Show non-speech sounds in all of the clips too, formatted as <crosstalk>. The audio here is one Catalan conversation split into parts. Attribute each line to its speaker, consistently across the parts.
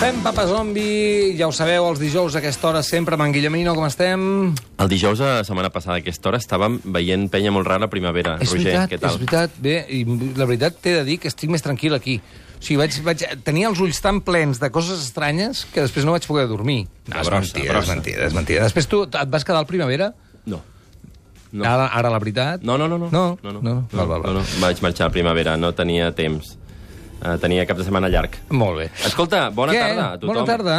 Speaker 1: Fem Papa Zombi, ja ho sabeu, els dijous a aquesta hora sempre amb en Guillemino, com estem?
Speaker 2: El dijous, la setmana passada, a aquesta hora, estàvem veient penya molt rara a primavera.
Speaker 1: és
Speaker 2: Roger,
Speaker 1: veritat,
Speaker 2: què tal?
Speaker 1: és veritat. Bé, i la veritat t'he de dir que estic més tranquil aquí. O sigui, vaig, vaig tenir els ulls tan plens de coses estranyes que després no vaig poder dormir. No, és
Speaker 2: brossa,
Speaker 1: mentida, és
Speaker 2: brossa.
Speaker 1: mentida, és mentida. Després tu et vas quedar al primavera?
Speaker 2: No.
Speaker 1: No.
Speaker 2: No.
Speaker 1: Ara, ara la veritat?
Speaker 2: No, no, no. No,
Speaker 1: No,
Speaker 2: no,
Speaker 1: no, no. Val, val, val.
Speaker 2: no, no. Vaig marxar a primavera, no tenia temps. Uh, tenia cap de setmana llarg.
Speaker 1: Molt bé.
Speaker 2: Escolta, bona
Speaker 1: Què?
Speaker 2: tarda a tothom.
Speaker 1: Bona tarda.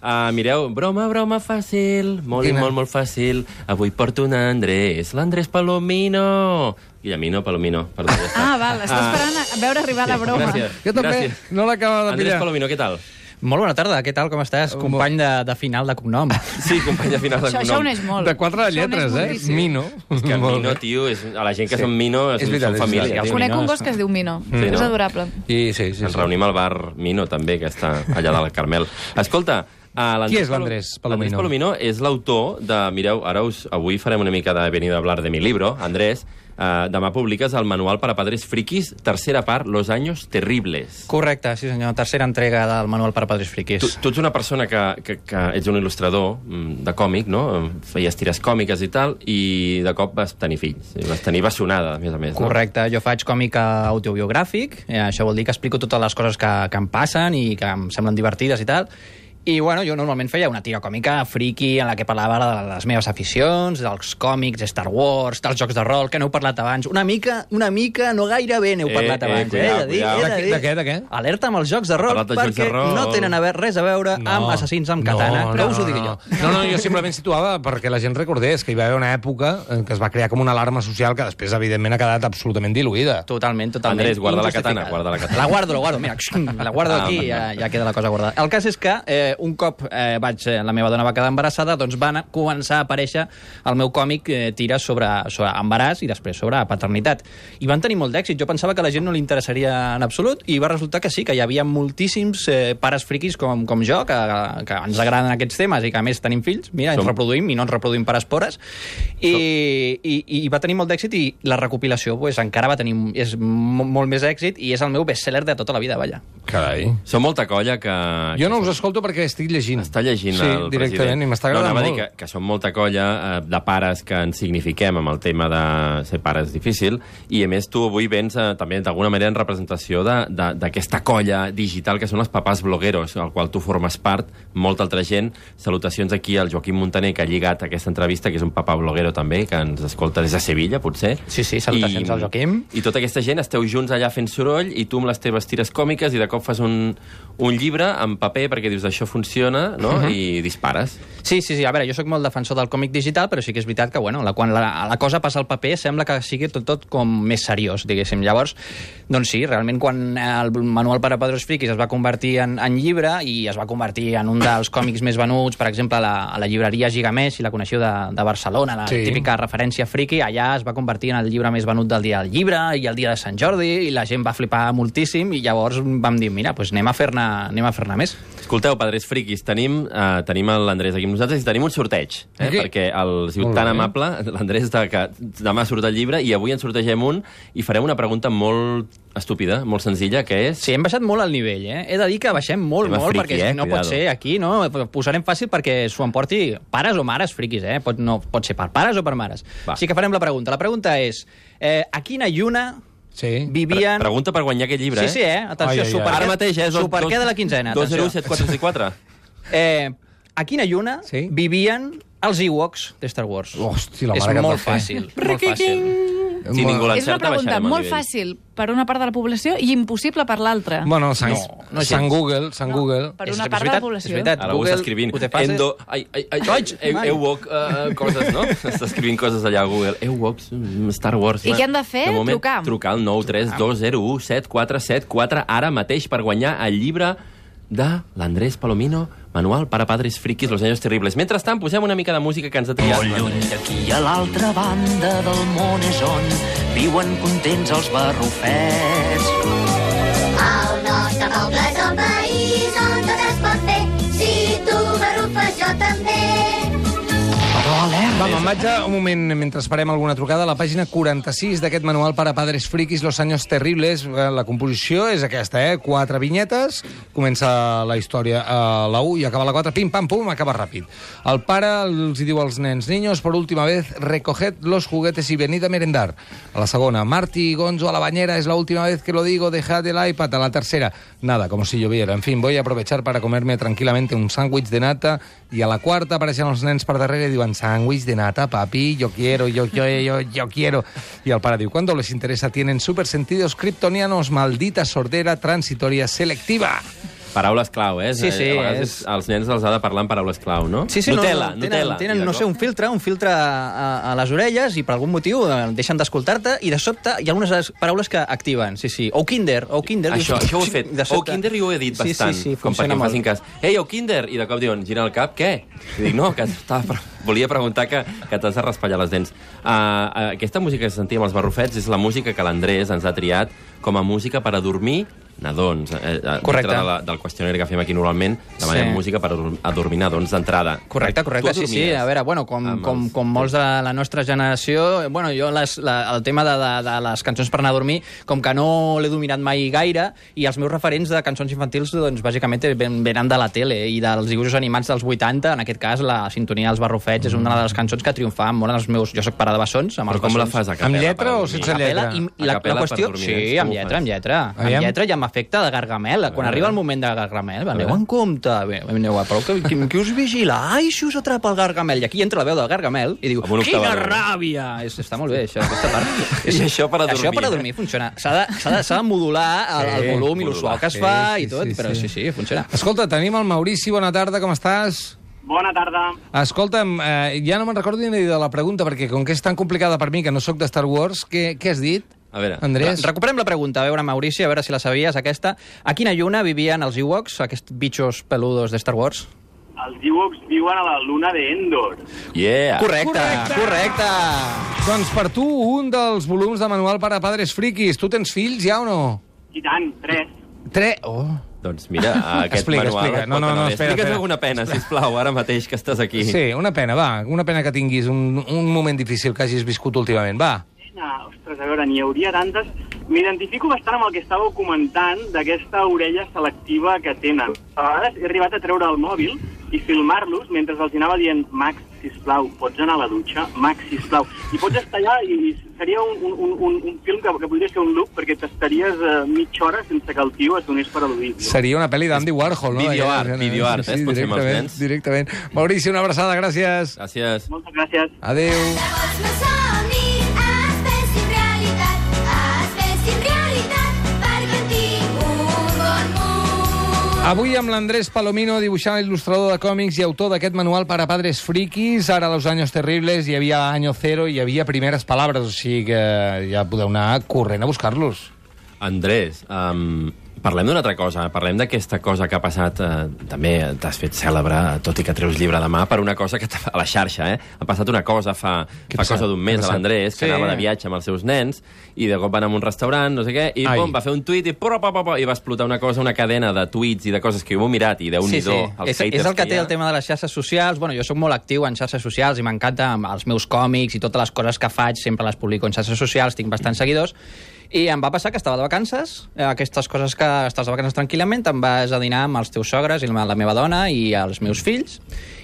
Speaker 2: Uh, mireu, broma, broma fàcil, molt
Speaker 1: Quina?
Speaker 2: i molt, molt fàcil. Avui porto un Andrés, l'Andrés Palomino. Guillemino, Palomino, perdó, ja està.
Speaker 3: Ah, val, estàs esperant a veure arribar la broma.
Speaker 2: Gràcies.
Speaker 1: Jo també
Speaker 2: gràcies.
Speaker 1: no l'acabava de
Speaker 2: Andrés
Speaker 1: pillar.
Speaker 2: Palomino, què tal?
Speaker 4: Molt bona tarda, què tal, com estàs? Company de, de final de cognom.
Speaker 2: Sí, company de final de
Speaker 3: Això, això uneix molt.
Speaker 1: De quatre
Speaker 3: Això uneix
Speaker 1: lletres, eh?
Speaker 3: moltíssim.
Speaker 1: Mino.
Speaker 2: Que a
Speaker 1: Molt
Speaker 2: Mino,
Speaker 1: bé.
Speaker 2: tio, és, a la gent que sí. són Mino és,
Speaker 1: És veritat, és
Speaker 2: són família.
Speaker 1: veritat.
Speaker 2: tio.
Speaker 3: Conec
Speaker 4: Mino
Speaker 3: un
Speaker 4: és-
Speaker 3: gos que es diu Mino.
Speaker 2: Sí,
Speaker 3: és
Speaker 2: no?
Speaker 3: adorable.
Speaker 1: I, sí, sí,
Speaker 2: Ens
Speaker 1: sí.
Speaker 2: reunim al bar Mino, també, que està allà de la Carmel. Escolta, a
Speaker 1: Qui és l'Andrés Palomino?
Speaker 2: L'Andrés Palomino és l'autor de... Mireu, ara us, avui farem una mica de venido a hablar de mi libro, Andrés. Uh, demà publiques el manual para padres friquis, tercera part, Los años terribles.
Speaker 4: Correcte, sí senyor, tercera entrega del manual per a padres friquis.
Speaker 2: Tu, tu ets una persona que, que, que ets un il·lustrador mm, de còmic, no? Em Feies tires còmiques i tal, i de cop vas tenir fills. I Vas tenir bessonada, a més a més. no?
Speaker 4: Correcte, jo faig còmic eh, autobiogràfic, eh, això vol dir que explico totes les coses que, que em passen i que em semblen divertides i tal, i bueno, jo normalment feia una tira còmica friki en la que parlava de les meves aficions, dels còmics, Star Wars, dels jocs de rol, que n'heu parlat abans. Una mica, una mica, no gaire bé n'heu
Speaker 2: Eh,
Speaker 4: parlat
Speaker 2: eh,
Speaker 4: abans.
Speaker 2: cuidao,
Speaker 4: he de dir,
Speaker 2: cuidao.
Speaker 4: he de
Speaker 1: De què,
Speaker 4: dir.
Speaker 1: de què, de què?
Speaker 4: Alerta amb els jocs de rol,
Speaker 2: Parlat de jocs de
Speaker 4: perquè
Speaker 2: rol.
Speaker 4: no tenen a veure, res a veure amb assassins amb katana. que us ho digui
Speaker 1: no.
Speaker 4: jo.
Speaker 1: No, no, jo simplement situava perquè la gent recordés que hi va haver una època en què es va crear com una alarma social que després, evidentment, ha quedat absolutament diluïda.
Speaker 4: Totalment, totalment.
Speaker 2: Andrés, guarda la
Speaker 4: Injustificat.
Speaker 2: katana, guarda la katana. Ah,
Speaker 4: La guardo, la guardo, mira, <laughs> la guardo aquí eh, i ja, ja queda la cosa guardada. El cas és que eh, un cop eh, vaig, eh, la meva dona va quedar embarassada, doncs van a- començar a aparèixer el meu còmic eh, tira sobre, sobre embaràs i després sobre paternitat. I van tenir molt d'èxit. Jo pensava que a la gent no li interessaria en absolut i va resultar que sí, que hi havia moltíssims eh, pares friquis com, com jo, que, que ens agraden aquests temes i que a més tenim fills. Mira, ens
Speaker 2: Som-
Speaker 4: reproduïm i no ens reproduïm per espores. I, i, i va tenir molt d'èxit i la recopilació pues, encara va tenir és mo- molt més èxit i és el meu best-seller de tota la vida, vaja.
Speaker 1: Carai.
Speaker 2: Són molta colla que...
Speaker 1: Jo no us escolto perquè estic llegint.
Speaker 2: Ah, Està llegint
Speaker 1: sí,
Speaker 2: el
Speaker 1: directament,
Speaker 2: president.
Speaker 1: i m'està agradant
Speaker 2: no, anava
Speaker 1: molt.
Speaker 2: a dir que, que som molta colla eh, de pares que ens signifiquem amb el tema de ser pares difícil, i a més tu avui vens eh, també d'alguna manera en representació de- de- d'aquesta colla digital que són els papàs blogueros, al qual tu formes part, molta altra gent. Salutacions aquí al Joaquim Montaner, que ha lligat aquesta entrevista, que és un papà bloguero també, que ens escolta des de Sevilla, potser.
Speaker 4: Sí, sí, salutacions al Joaquim.
Speaker 2: I tota aquesta gent esteu junts allà fent soroll i tu amb les teves tires còmiques i de cop fas un, un llibre en paper perquè dius això funciona no?
Speaker 4: Mhm.
Speaker 2: i dispares.
Speaker 4: Sí, sí, sí, a veure, jo sóc molt defensor del còmic digital, però sí que és veritat que, bueno, la, quan la, la cosa passa al paper sembla que sigui tot, tot com més seriós, diguéssim. Llavors, doncs sí, realment quan el manual per a padres friquis es va convertir en, en llibre i es va convertir en un dels còmics més venuts, per exemple, a la, a la llibreria Gigamés, si la coneixeu, de, de Barcelona, la
Speaker 1: Sí.
Speaker 4: sí. típica referència friki, allà es va convertir en el llibre més venut del dia del llibre i el dia de Sant Jordi, i la gent va flipar moltíssim, i llavors vam dir, mira, doncs anem a fer-ne anem a fer-ne més.
Speaker 2: Escolteu, padres friquis, tenim, uh, tenim l'Andrés aquí amb nosaltres i tenim un sorteig, eh?
Speaker 1: Aquí.
Speaker 2: perquè el
Speaker 1: Molt
Speaker 2: ciutadà
Speaker 1: bé.
Speaker 2: amable, l'Andrés, de que demà surt el llibre i avui en sortegem un i farem una pregunta molt estúpida, molt senzilla, que és...
Speaker 4: Sí, hem baixat molt el nivell, eh? He de dir que baixem molt,
Speaker 2: Tema
Speaker 4: molt,
Speaker 2: friki,
Speaker 4: perquè
Speaker 2: eh?
Speaker 4: no
Speaker 2: Cuidado.
Speaker 4: pot ser aquí, no? Posarem fàcil perquè s'ho emporti pares o mares friquis, eh? Pot, no, pot ser per pares o per mares.
Speaker 2: Va.
Speaker 4: Així que farem la pregunta. La pregunta és, eh, a quina lluna
Speaker 1: Sí.
Speaker 2: Pre
Speaker 4: vivien...
Speaker 2: pregunta per guanyar aquest llibre,
Speaker 4: Sí, sí,
Speaker 2: eh?
Speaker 4: eh? Atenció,
Speaker 1: Ai, ai, ai.
Speaker 4: superquet-
Speaker 2: Ara mateix, eh?
Speaker 4: superquet de la quinzena. atenció. <laughs>
Speaker 2: 2-0-7-4-6-4.
Speaker 4: Eh, a quina lluna
Speaker 1: Sí.
Speaker 4: vivien els Ewoks de Star Wars?
Speaker 1: Hosti, la mare
Speaker 4: és
Speaker 1: que et va
Speaker 4: molt
Speaker 1: fer.
Speaker 4: fàcil, molt fàcil.
Speaker 2: Si ningú
Speaker 3: És una
Speaker 2: l'encerta,
Speaker 3: pregunta
Speaker 2: baixarem el
Speaker 3: molt
Speaker 2: nivell.
Speaker 3: fàcil per una part de la població i impossible per l'altra. Doncs
Speaker 1: Bueno, Sant,
Speaker 4: No, no gens.
Speaker 1: Sant Google, Sant
Speaker 3: No,
Speaker 1: Google...
Speaker 3: per
Speaker 4: És
Speaker 3: una part de la
Speaker 4: veritat,
Speaker 3: població.
Speaker 4: és veritat.
Speaker 2: Ara Google, ho està escrivint.
Speaker 4: ho te passes?
Speaker 2: Endo... Ai, ai, ai, ai, eu, eu walk, uh, coses,
Speaker 4: <laughs>
Speaker 2: no? Està escrivint coses allà a Google. Eu walk, mm, Star Wars...
Speaker 3: I
Speaker 2: va.
Speaker 3: què han de fer?
Speaker 2: De moment,
Speaker 3: Trucar?
Speaker 2: Trucar al 9 3 2 0 1 7 4 7 4 ara mateix per guanyar el llibre de l'Andrés Palomino, Manual para padres friquis, los años terribles. Mentrestant, posem una mica de música que ens ha triat.
Speaker 5: Molt lluny d'aquí a l'altra banda del món és on viuen contents els barrufets.
Speaker 6: El nostre poble és el país on tot es pot fer. Si tu m'arrufes, jo també.
Speaker 5: Però alerta!
Speaker 1: Va, me'n vaig a- un moment, mentre esperem alguna trucada, a la pàgina 46 d'aquest manual per a padres friquis, Los años terribles. Eh, La composició és aquesta, eh? Quatre vinyetes, comença la història a la 1 i acaba a la 4, pim, pam, pum, acaba ràpid. El pare els hi diu als nens, niños, por última vez, recoged los juguetes y venid a merendar. A la segona, Marty y Gonzo a la bañera, es la última vez que lo digo, dejad el iPad. A la tercera, nada, como si lloviera. En fin, voy a aprovechar para comerme tranquilamente un sándwich de nata i a la quarta apareixen els nens per darrere i diuen sándwich de nata, papi, yo quiero, yo, yo, yo, yo quiero. I el pare diu, cuando les interesa tienen supersentidos kryptonianos, maldita sordera transitoria selectiva.
Speaker 2: Paraules clau, eh?
Speaker 4: Sí, sí,
Speaker 2: A vegades
Speaker 4: és-
Speaker 2: els nens els ha de parlar en paraules clau, no?
Speaker 4: Sí, sí,
Speaker 2: Nutella,
Speaker 4: no, no, tenen,
Speaker 2: Nutella.
Speaker 4: Tenen,
Speaker 2: I
Speaker 4: no
Speaker 2: de
Speaker 4: sé,
Speaker 2: cop-
Speaker 4: un filtre, un filtre a, a les orelles i per algun motiu eh, deixen d'escoltar-te i de sobte hi ha algunes paraules que activen, sí, sí. O Kinder, o Kinder. dius,
Speaker 2: Això, això ho he fet.
Speaker 4: de
Speaker 2: O
Speaker 4: sobte.
Speaker 2: Kinder jo ho he dit
Speaker 4: sí,
Speaker 2: bastant,
Speaker 4: Sí, sí, sí,
Speaker 2: com perquè
Speaker 4: funciona
Speaker 2: em facin
Speaker 4: molt.
Speaker 2: cas. Ei, o Kinder! I de cop diuen, gira el cap, què? I dic, no, que estava... pre- Volia preguntar que, que t'has de raspallar les dents. Uh, uh, aquesta música que sentíem als barrufets és la música que l'Andrés ens ha triat com a música per a dormir nadons. Eh, eh,
Speaker 4: Correcte.
Speaker 2: dintre De la, del qüestionari que fem aquí normalment, demanem
Speaker 4: Sí.
Speaker 2: música per ador- adormir nadons d'entrada.
Speaker 4: Correcte, correcte,
Speaker 2: Tu
Speaker 4: sí, sí.
Speaker 2: adormies?
Speaker 4: A veure, bueno, com,
Speaker 2: Amb
Speaker 4: com,
Speaker 2: els-
Speaker 4: com molts de la nostra generació, eh, bueno, jo les, la, el tema de, de, de les cançons per anar a dormir, com que no l'he dominat mai gaire, i els meus referents de cançons infantils, doncs, bàsicament ven- venen de la tele i dels dibuixos animats dels 80, en aquest cas, la sintonia dels barrufets és una de les cançons que triomfava molt en els meus... Jo soc pare de bessons, amb
Speaker 2: Però
Speaker 4: els
Speaker 2: com la
Speaker 4: bessons.
Speaker 2: fas a
Speaker 1: Amb
Speaker 2: capella?
Speaker 1: lletra
Speaker 2: per
Speaker 1: o
Speaker 2: adormir?
Speaker 1: sense
Speaker 4: A capella
Speaker 1: lletra.
Speaker 4: I, i
Speaker 2: A
Speaker 4: la,
Speaker 2: capella
Speaker 4: la
Speaker 2: per
Speaker 4: qüestió...
Speaker 2: dormir,
Speaker 4: Sí,
Speaker 2: tu
Speaker 4: amb
Speaker 2: ho
Speaker 4: lletra,
Speaker 2: fas.
Speaker 4: amb lletra. Amb
Speaker 1: Aviam.
Speaker 4: lletra i amb efecte de gargamel. Quan arriba el moment de gargamel, aneu en compte. Bé, Aneu a prou, que, qui, qui us vigila? Ai, si us atrapa el gargamel. I aquí entra la veu del gargamel i diu,
Speaker 2: Amb un
Speaker 4: quina
Speaker 2: octavador.
Speaker 4: ràbia! És, està molt bé, això, aquesta part.
Speaker 2: <laughs> I això per a
Speaker 4: Això
Speaker 2: dormir.
Speaker 4: per a dormir funciona. S'ha de, s'ha de, s'ha de modular el, el
Speaker 1: Sí,
Speaker 4: volum i lo suau que es
Speaker 1: sí,
Speaker 4: fa
Speaker 1: sí,
Speaker 4: i tot,
Speaker 1: sí,
Speaker 4: però
Speaker 1: sí.
Speaker 4: sí, sí, funciona.
Speaker 1: Escolta, tenim el Maurici, bona tarda, com estàs?
Speaker 7: Bona tarda.
Speaker 1: Escolta'm, eh, ja no me'n recordo ni de la pregunta, perquè com que és tan complicada per mi, que no sóc de Star Wars, què, què has dit,
Speaker 2: A veure,
Speaker 1: Andrés?
Speaker 4: Re- Recuperem la pregunta, a veure, Maurici, a veure si la sabies, aquesta. A quina lluna vivien els Ewoks, aquests bitxos peludos de Star Wars?
Speaker 7: Els Ewoks viuen a la luna d'Endor.
Speaker 2: Yeah!
Speaker 4: Correcte, correcte. correcte.
Speaker 1: Doncs per tu, un dels volums de manual per a padres friquis. Tu tens fills, ja o no?
Speaker 7: I tant, tres.
Speaker 1: Tre... Oh.
Speaker 2: Doncs mira,
Speaker 1: <laughs>
Speaker 2: aquest
Speaker 1: Explica,
Speaker 2: manual...
Speaker 1: explica.
Speaker 2: es
Speaker 1: No,
Speaker 2: pot
Speaker 1: no,
Speaker 2: anar
Speaker 1: no,
Speaker 2: bé.
Speaker 1: espera,
Speaker 2: Explica'ns
Speaker 1: espera.
Speaker 2: alguna pena, sisplau, ara mateix que estàs aquí.
Speaker 1: Sí, una pena, va. Una pena que tinguis un, un moment difícil que hagis viscut últimament. Va.
Speaker 7: Nena, ostres, a veure, n'hi hauria tantes. M'identifico bastant amb el que estàveu comentant d'aquesta orella selectiva que tenen. A vegades he arribat a treure el mòbil i filmar-los mentre els anava dient Max, sisplau, pots anar a la dutxa? Max, sisplau. I pots estar allà i seria un, un, un- un, un film que, que podria ser un loop perquè t'estaries eh, mitja hora sense que el tio es donés per al·ludit.
Speaker 1: Seria una pel·li d'Andy Warhol, no?
Speaker 2: videoart,
Speaker 1: Allà,
Speaker 2: videoart, eh? Es pot fer amb els
Speaker 1: directament,
Speaker 2: nens.
Speaker 1: directament. Maurici, una abraçada, gràcies.
Speaker 2: Gràcies.
Speaker 7: Moltes gràcies.
Speaker 1: Adéu.
Speaker 6: Llavors no somnis, has vestit realitat, has vestit realitat, perquè en tinc un bon món.
Speaker 1: Avui amb l'Andrés Palomino, dibuixant il·lustrador de còmics i autor d'aquest manual per a padres friquis. Ara, Los Años Terribles, hi havia Año Cero, hi havia Primeres Palabres, o sigui que ja podeu anar corrent a buscar-los.
Speaker 2: Andrés, um, parlem d'una altra cosa. Parlem d'aquesta cosa que ha passat... Eh, també t'has fet cèlebre, tot i que treus llibre demà, per una cosa que... t'ha- A la xarxa, eh? Ha passat una cosa fa,
Speaker 1: Què ha
Speaker 2: fa
Speaker 1: passat?
Speaker 2: cosa d'un
Speaker 1: Què
Speaker 2: mes
Speaker 1: ha
Speaker 2: a
Speaker 1: passat?
Speaker 2: l'Andrés, que
Speaker 1: Sí.
Speaker 2: anava de viatge amb els seus nens, i de cop va anar a un restaurant, no sé què, i
Speaker 1: Ai.
Speaker 2: pum, va fer un tuit, i, pura, pa, pa, pa, i va explotar una cosa, una cadena de tuits i de coses que jo he mirat, i déu nhi
Speaker 4: És, és el que té el tema de les xarxes socials. Bueno, jo sóc molt actiu en xarxes socials i m'encanta amb els meus còmics i totes les coses que faig, sempre les publico en xarxes socials, tinc bastants seguidors. I em va passar que estava de vacances, eh, aquestes coses que estàs de vacances tranquil·lament, te'n vas a dinar amb els teus sogres i la la meva dona i els meus fills,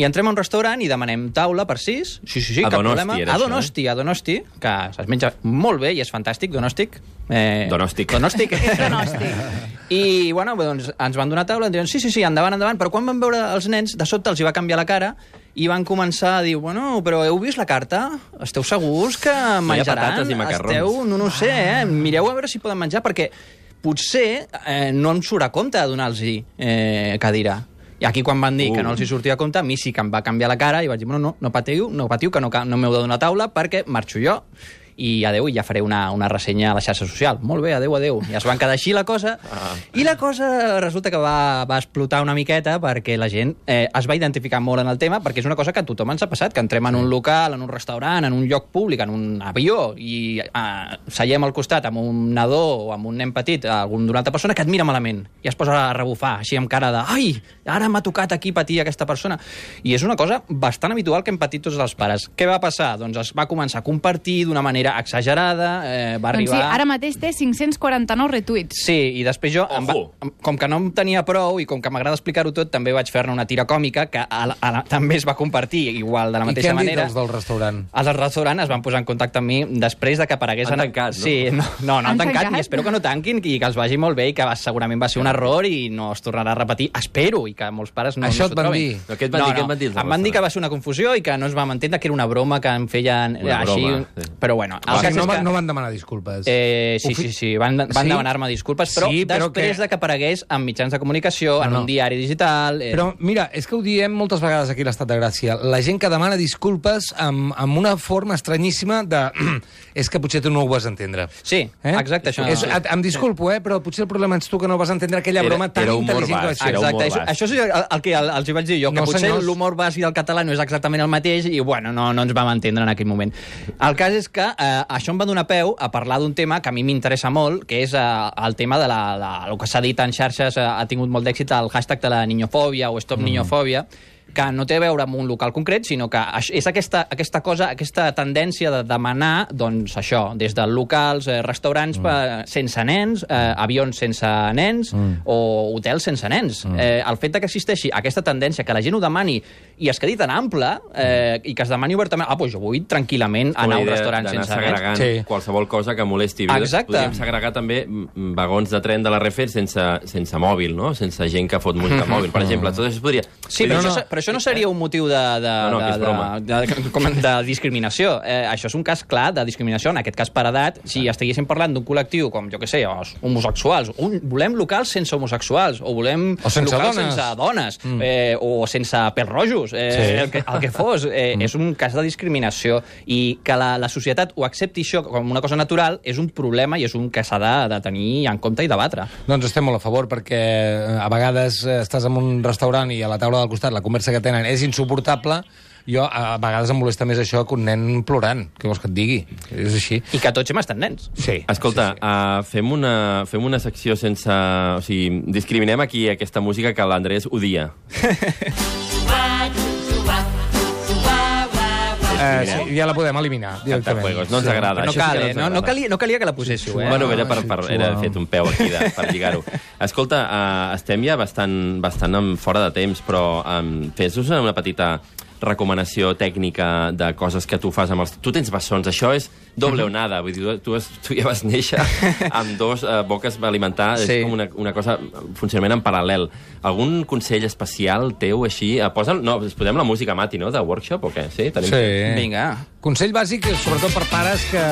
Speaker 4: i entrem a un restaurant i demanem taula per sis. Sí, sí, sí,
Speaker 2: A
Speaker 4: cap
Speaker 2: Donosti
Speaker 4: problema.
Speaker 2: era
Speaker 4: a
Speaker 2: això, eh?
Speaker 4: Donosti, a Donosti, que es menja molt bé i és fantàstic, Donostic. Eh,
Speaker 2: Donòstic. <laughs>
Speaker 4: Donòstic.
Speaker 3: Pronòstic.
Speaker 4: I, bueno, doncs, ens van donar taula, ens diuen, sí, sí, sí, endavant, endavant, però quan van veure els nens, de sobte els hi va canviar la cara i van començar a dir, bueno, però heu vist la carta? Esteu segurs que menjaran?
Speaker 2: patates i macarrons."
Speaker 4: Esteu, no, no ho sé, eh? Mireu a veure si poden menjar, perquè potser eh, no em surt a compte de donar-los eh, cadira. I aquí quan van dir uh. que no els hi sortia a compte, a mi sí que em va canviar la cara i vaig dir, bueno, no, no patiu, no patiu, que no, ca- no m'heu de donar taula perquè marxo jo i adeu, i ja faré una, una ressenya a la xarxa social. Molt bé, adeu, adeu. I es van quedar així la cosa. Ah. I la cosa resulta que va, va explotar una miqueta perquè la gent eh, es va identificar molt en el tema perquè és una cosa que a tothom ens ha passat, que entrem en un local, en un restaurant, en un lloc públic, en un avió i eh, seiem al costat amb un nadó o amb un nen petit, eh, algun d'una altra persona que et mira malament i es posa a rebufar així amb cara de ai, ara m'ha tocat aquí patir aquesta persona. I és una cosa bastant habitual que hem patit tots els pares. Què va passar? Doncs es va començar a compartir d'una manera exagerada, eh, va
Speaker 3: Doncs
Speaker 4: arribar...
Speaker 3: sí, ara mateix té 549 retuits.
Speaker 4: Sí, i després jo, em va,
Speaker 2: Ojo.
Speaker 4: em- com que no em tenia prou i com que m'agrada explicar-ho tot, també vaig fer-ne una tira còmica que a la, a la, també es va compartir igual de
Speaker 1: I
Speaker 4: la
Speaker 1: què
Speaker 4: mateixa
Speaker 1: han dit
Speaker 4: manera.
Speaker 1: els del restaurant?
Speaker 4: Els del restaurant es van posar en contacte amb mi després de que aparegués...
Speaker 2: Han
Speaker 4: en-
Speaker 2: tancat, no?
Speaker 4: Sí, no, no, no han,
Speaker 3: Han
Speaker 4: tancat,
Speaker 3: tancat?
Speaker 4: i espero que no tanquin i que els vagi molt bé i que va, segurament va ser un error i no es tornarà a repetir. Espero, i que molts pares no,
Speaker 1: Això
Speaker 4: no
Speaker 1: et
Speaker 4: s'ho
Speaker 1: van
Speaker 4: trobin.
Speaker 1: dir?
Speaker 2: No, què et van dir? Què et van dir els del
Speaker 4: Em van dir que
Speaker 2: restaurant?
Speaker 4: va ser una confusió i que no es va entendre que era una broma que em feien
Speaker 2: Una
Speaker 4: així...
Speaker 2: broma, sí.
Speaker 4: Però bueno, el
Speaker 1: O sigui,
Speaker 4: cas
Speaker 1: Ah, no,
Speaker 4: és
Speaker 1: van,
Speaker 4: que...
Speaker 1: no van demanar disculpes.
Speaker 4: Eh, sí,
Speaker 1: Ho fi-
Speaker 4: sí, sí, van, van
Speaker 1: Sí?
Speaker 4: demanar-me disculpes, però,
Speaker 1: Sí, però
Speaker 4: després
Speaker 1: que-
Speaker 4: de que aparegués en mitjans de comunicació, en
Speaker 1: No, no.
Speaker 4: un diari digital... Eh,
Speaker 1: Però mira, és que ho diem moltes vegades aquí a l'Estat de Gràcia. La gent que demana disculpes amb, amb una forma estranyíssima de... <clears throat> és que potser tu no ho vas entendre. Eh?
Speaker 4: Sí, exacte, això-
Speaker 1: És, et, em disculpo, eh, però potser el problema ets tu que no vas entendre aquella
Speaker 2: Era-
Speaker 1: broma tan
Speaker 2: era humor
Speaker 1: intel·ligent que vaig
Speaker 2: basc,
Speaker 1: fer.
Speaker 2: era humor
Speaker 4: Exacte, això,
Speaker 2: basc.
Speaker 4: això és el, el que el- els hi vaig dir jo, que
Speaker 1: No,
Speaker 4: potser
Speaker 1: senyors.
Speaker 4: l'humor basc i el català no és exactament el mateix i, bueno, no, no ens vam entendre en aquell moment. El cas és que eh, això em va donar peu a parlar d'un tema que a mi m'interessa molt, que és eh, el tema de la, de, el que s'ha dit en xarxes, eh, ha tingut molt d'èxit el hashtag de la niñofòbia o stop mm. niñofòbia, que no té a veure amb un local concret, sinó que aix- és aquesta, aquesta cosa, aquesta tendència de demanar, doncs, això, des de locals, eh, restaurants mm. sense nens, eh, avions sense nens mm. o hotels sense nens. Mm. Eh, el fet de que existeixi aquesta tendència que la gent ho demani i es quedi tan ample eh, i que es demani obertament, ah, doncs jo vull tranquil·lament anar a un restaurant sense nens.
Speaker 2: segregant
Speaker 1: Sí.
Speaker 2: sí. qualsevol cosa que molesti.
Speaker 4: Exacte.
Speaker 2: Podríem segregar també mm, vagons de tren de la Refer sense, sense mòbil, no? Sense gent que fot
Speaker 4: <laughs>
Speaker 2: música mòbil, per exemple. Tot això es podria...
Speaker 4: Sí,
Speaker 2: Vull
Speaker 4: però,
Speaker 2: dir,
Speaker 4: no, això, però això no seria un motiu de, de,
Speaker 2: No, no, que és
Speaker 4: de,
Speaker 2: broma.
Speaker 4: de, de, com, de discriminació. Eh, això és un cas clar de discriminació, en aquest cas per edat. Si estiguéssim parlant d'un col·lectiu com, jo què sé, els homosexuals, un, volem locals sense homosexuals, o volem
Speaker 1: O sense
Speaker 4: locals
Speaker 1: dones.
Speaker 4: sense dones, mm. eh, o sense pèls rojos, eh, sí. el, que, el que fos. Eh, mm. És un cas de discriminació. I que la, la societat ho accepti això com una cosa natural és un problema i és un que s'ha de, de tenir en compte i debatre.
Speaker 1: Doncs estem molt a favor, perquè eh, a vegades eh, estàs en un restaurant i a la taula del costat la conversa que tenen és insuportable, jo a a vegades em molesta més això que un nen plorant, què vols que et digui? És així.
Speaker 4: I que tots hem estat nens.
Speaker 1: Sí.
Speaker 2: Escolta, sí, sí. Uh, fem, una, fem una secció sense... O sigui, discriminem aquí aquesta música que l'Andrés odia.
Speaker 1: Eh, sí, ja la podem eliminar directament.
Speaker 2: Cantafuegos, no ens agrada.
Speaker 4: No,
Speaker 2: això sí
Speaker 4: cal,
Speaker 2: que
Speaker 4: eh?
Speaker 2: ens
Speaker 4: no, no,
Speaker 2: agrada.
Speaker 4: calia, no calia que la poséssiu, eh?
Speaker 2: Bueno, era per,
Speaker 1: sí,
Speaker 2: per,
Speaker 1: xuau.
Speaker 2: era fet un peu aquí de, per
Speaker 1: <laughs>
Speaker 2: lligar-ho. Escolta, uh, estem ja bastant, bastant en fora de temps, però um, fes-nos una petita recomanació tècnica de coses que tu fas amb els... Tu tens bessons, això és doble onada, vull dir, tu, tu, has, tu ja vas néixer amb dos eh, boques va alimentar, sí.
Speaker 4: Sí.
Speaker 2: és com una, una cosa, un funcionament en paral·lel. Algun consell especial teu així? Eh, posa, no, podem la música Mati, no?, de workshop o què? Sí, tenim...
Speaker 1: Sí.
Speaker 4: Vinga.
Speaker 1: Consell bàsic, sobretot per pares que,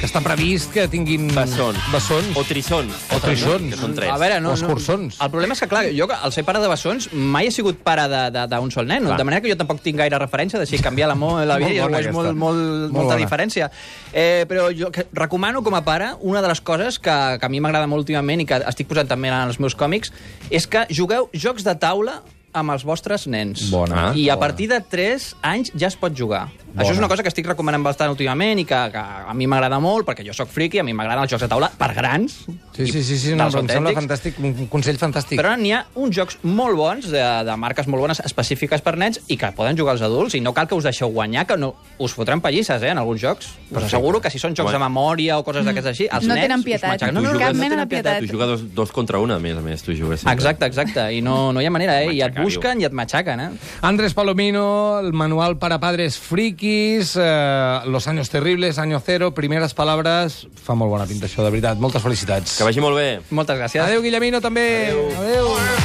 Speaker 1: que està previst que tinguin...
Speaker 2: Bessons.
Speaker 1: Bessons.
Speaker 2: O trissons.
Speaker 1: O trissons.
Speaker 2: Que són tres.
Speaker 4: Mm, A veure, no,
Speaker 1: O escurçons.
Speaker 4: No, el problema és que, clar, jo, que al ser pare de bessons, mai he sigut pare de- de- d'un sol nen.
Speaker 2: Clar.
Speaker 4: De manera que jo tampoc tinc gaire referència, de si canviar la, mo la vida
Speaker 1: <laughs> Molt bona
Speaker 4: és molt,
Speaker 1: aquesta.
Speaker 4: molt, molt,
Speaker 1: Molt
Speaker 4: molta
Speaker 1: bona.
Speaker 4: diferència. Eh, però jo que recomano com a pare una de les coses que, que a mi m'agrada molt últimament i que estic posant també en els meus còmics és que jugueu jocs de taula amb els vostres nens.
Speaker 1: Bona,
Speaker 4: I a
Speaker 1: Ah, bona.
Speaker 4: partir de 3 anys ja es pot jugar. Bona. Això és una cosa que estic recomanant bastant últimament i que, que a mi m'agrada molt, perquè jo sóc friki, a mi m'agraden els jocs de taula per grans.
Speaker 1: Sí, sí, sí, sí
Speaker 4: i
Speaker 1: no,
Speaker 4: dels
Speaker 1: em sembla
Speaker 4: autèntics.
Speaker 1: fantàstic, un consell fantàstic.
Speaker 4: Però ara n'hi ha uns jocs molt bons, de, de marques molt bones, específiques per nens, i que poden jugar els adults, i no cal que us deixeu guanyar, que no us fotran pallisses, eh, en alguns jocs. Us asseguro que si són jocs de memòria o coses d'aquestes així, els
Speaker 3: Mm. No
Speaker 4: nens...
Speaker 3: tenen
Speaker 4: us
Speaker 3: pietat.
Speaker 4: matxaquen.
Speaker 3: No, no,
Speaker 2: Tu
Speaker 3: no,
Speaker 2: jugues-
Speaker 3: cap mena
Speaker 4: tenen
Speaker 3: de pietat.
Speaker 2: Tu jugues dos, dos contra una, a més a més, tu jugues sempre.
Speaker 4: Exacte, exacte. I no, no hi ha manera, eh? I et
Speaker 2: Matxacar-ho.
Speaker 4: busquen i et matxaquen, eh?
Speaker 1: Andrés Palomino, el manual para padres frikis, eh, Los años terribles, año cero, primeres palabres... Fa molt bona pinta això, de veritat. Moltes felicitats.
Speaker 2: Que vagi molt bé.
Speaker 4: Moltes gràcies.
Speaker 1: Adéu, Guillemino, també. Adéu. Adéu.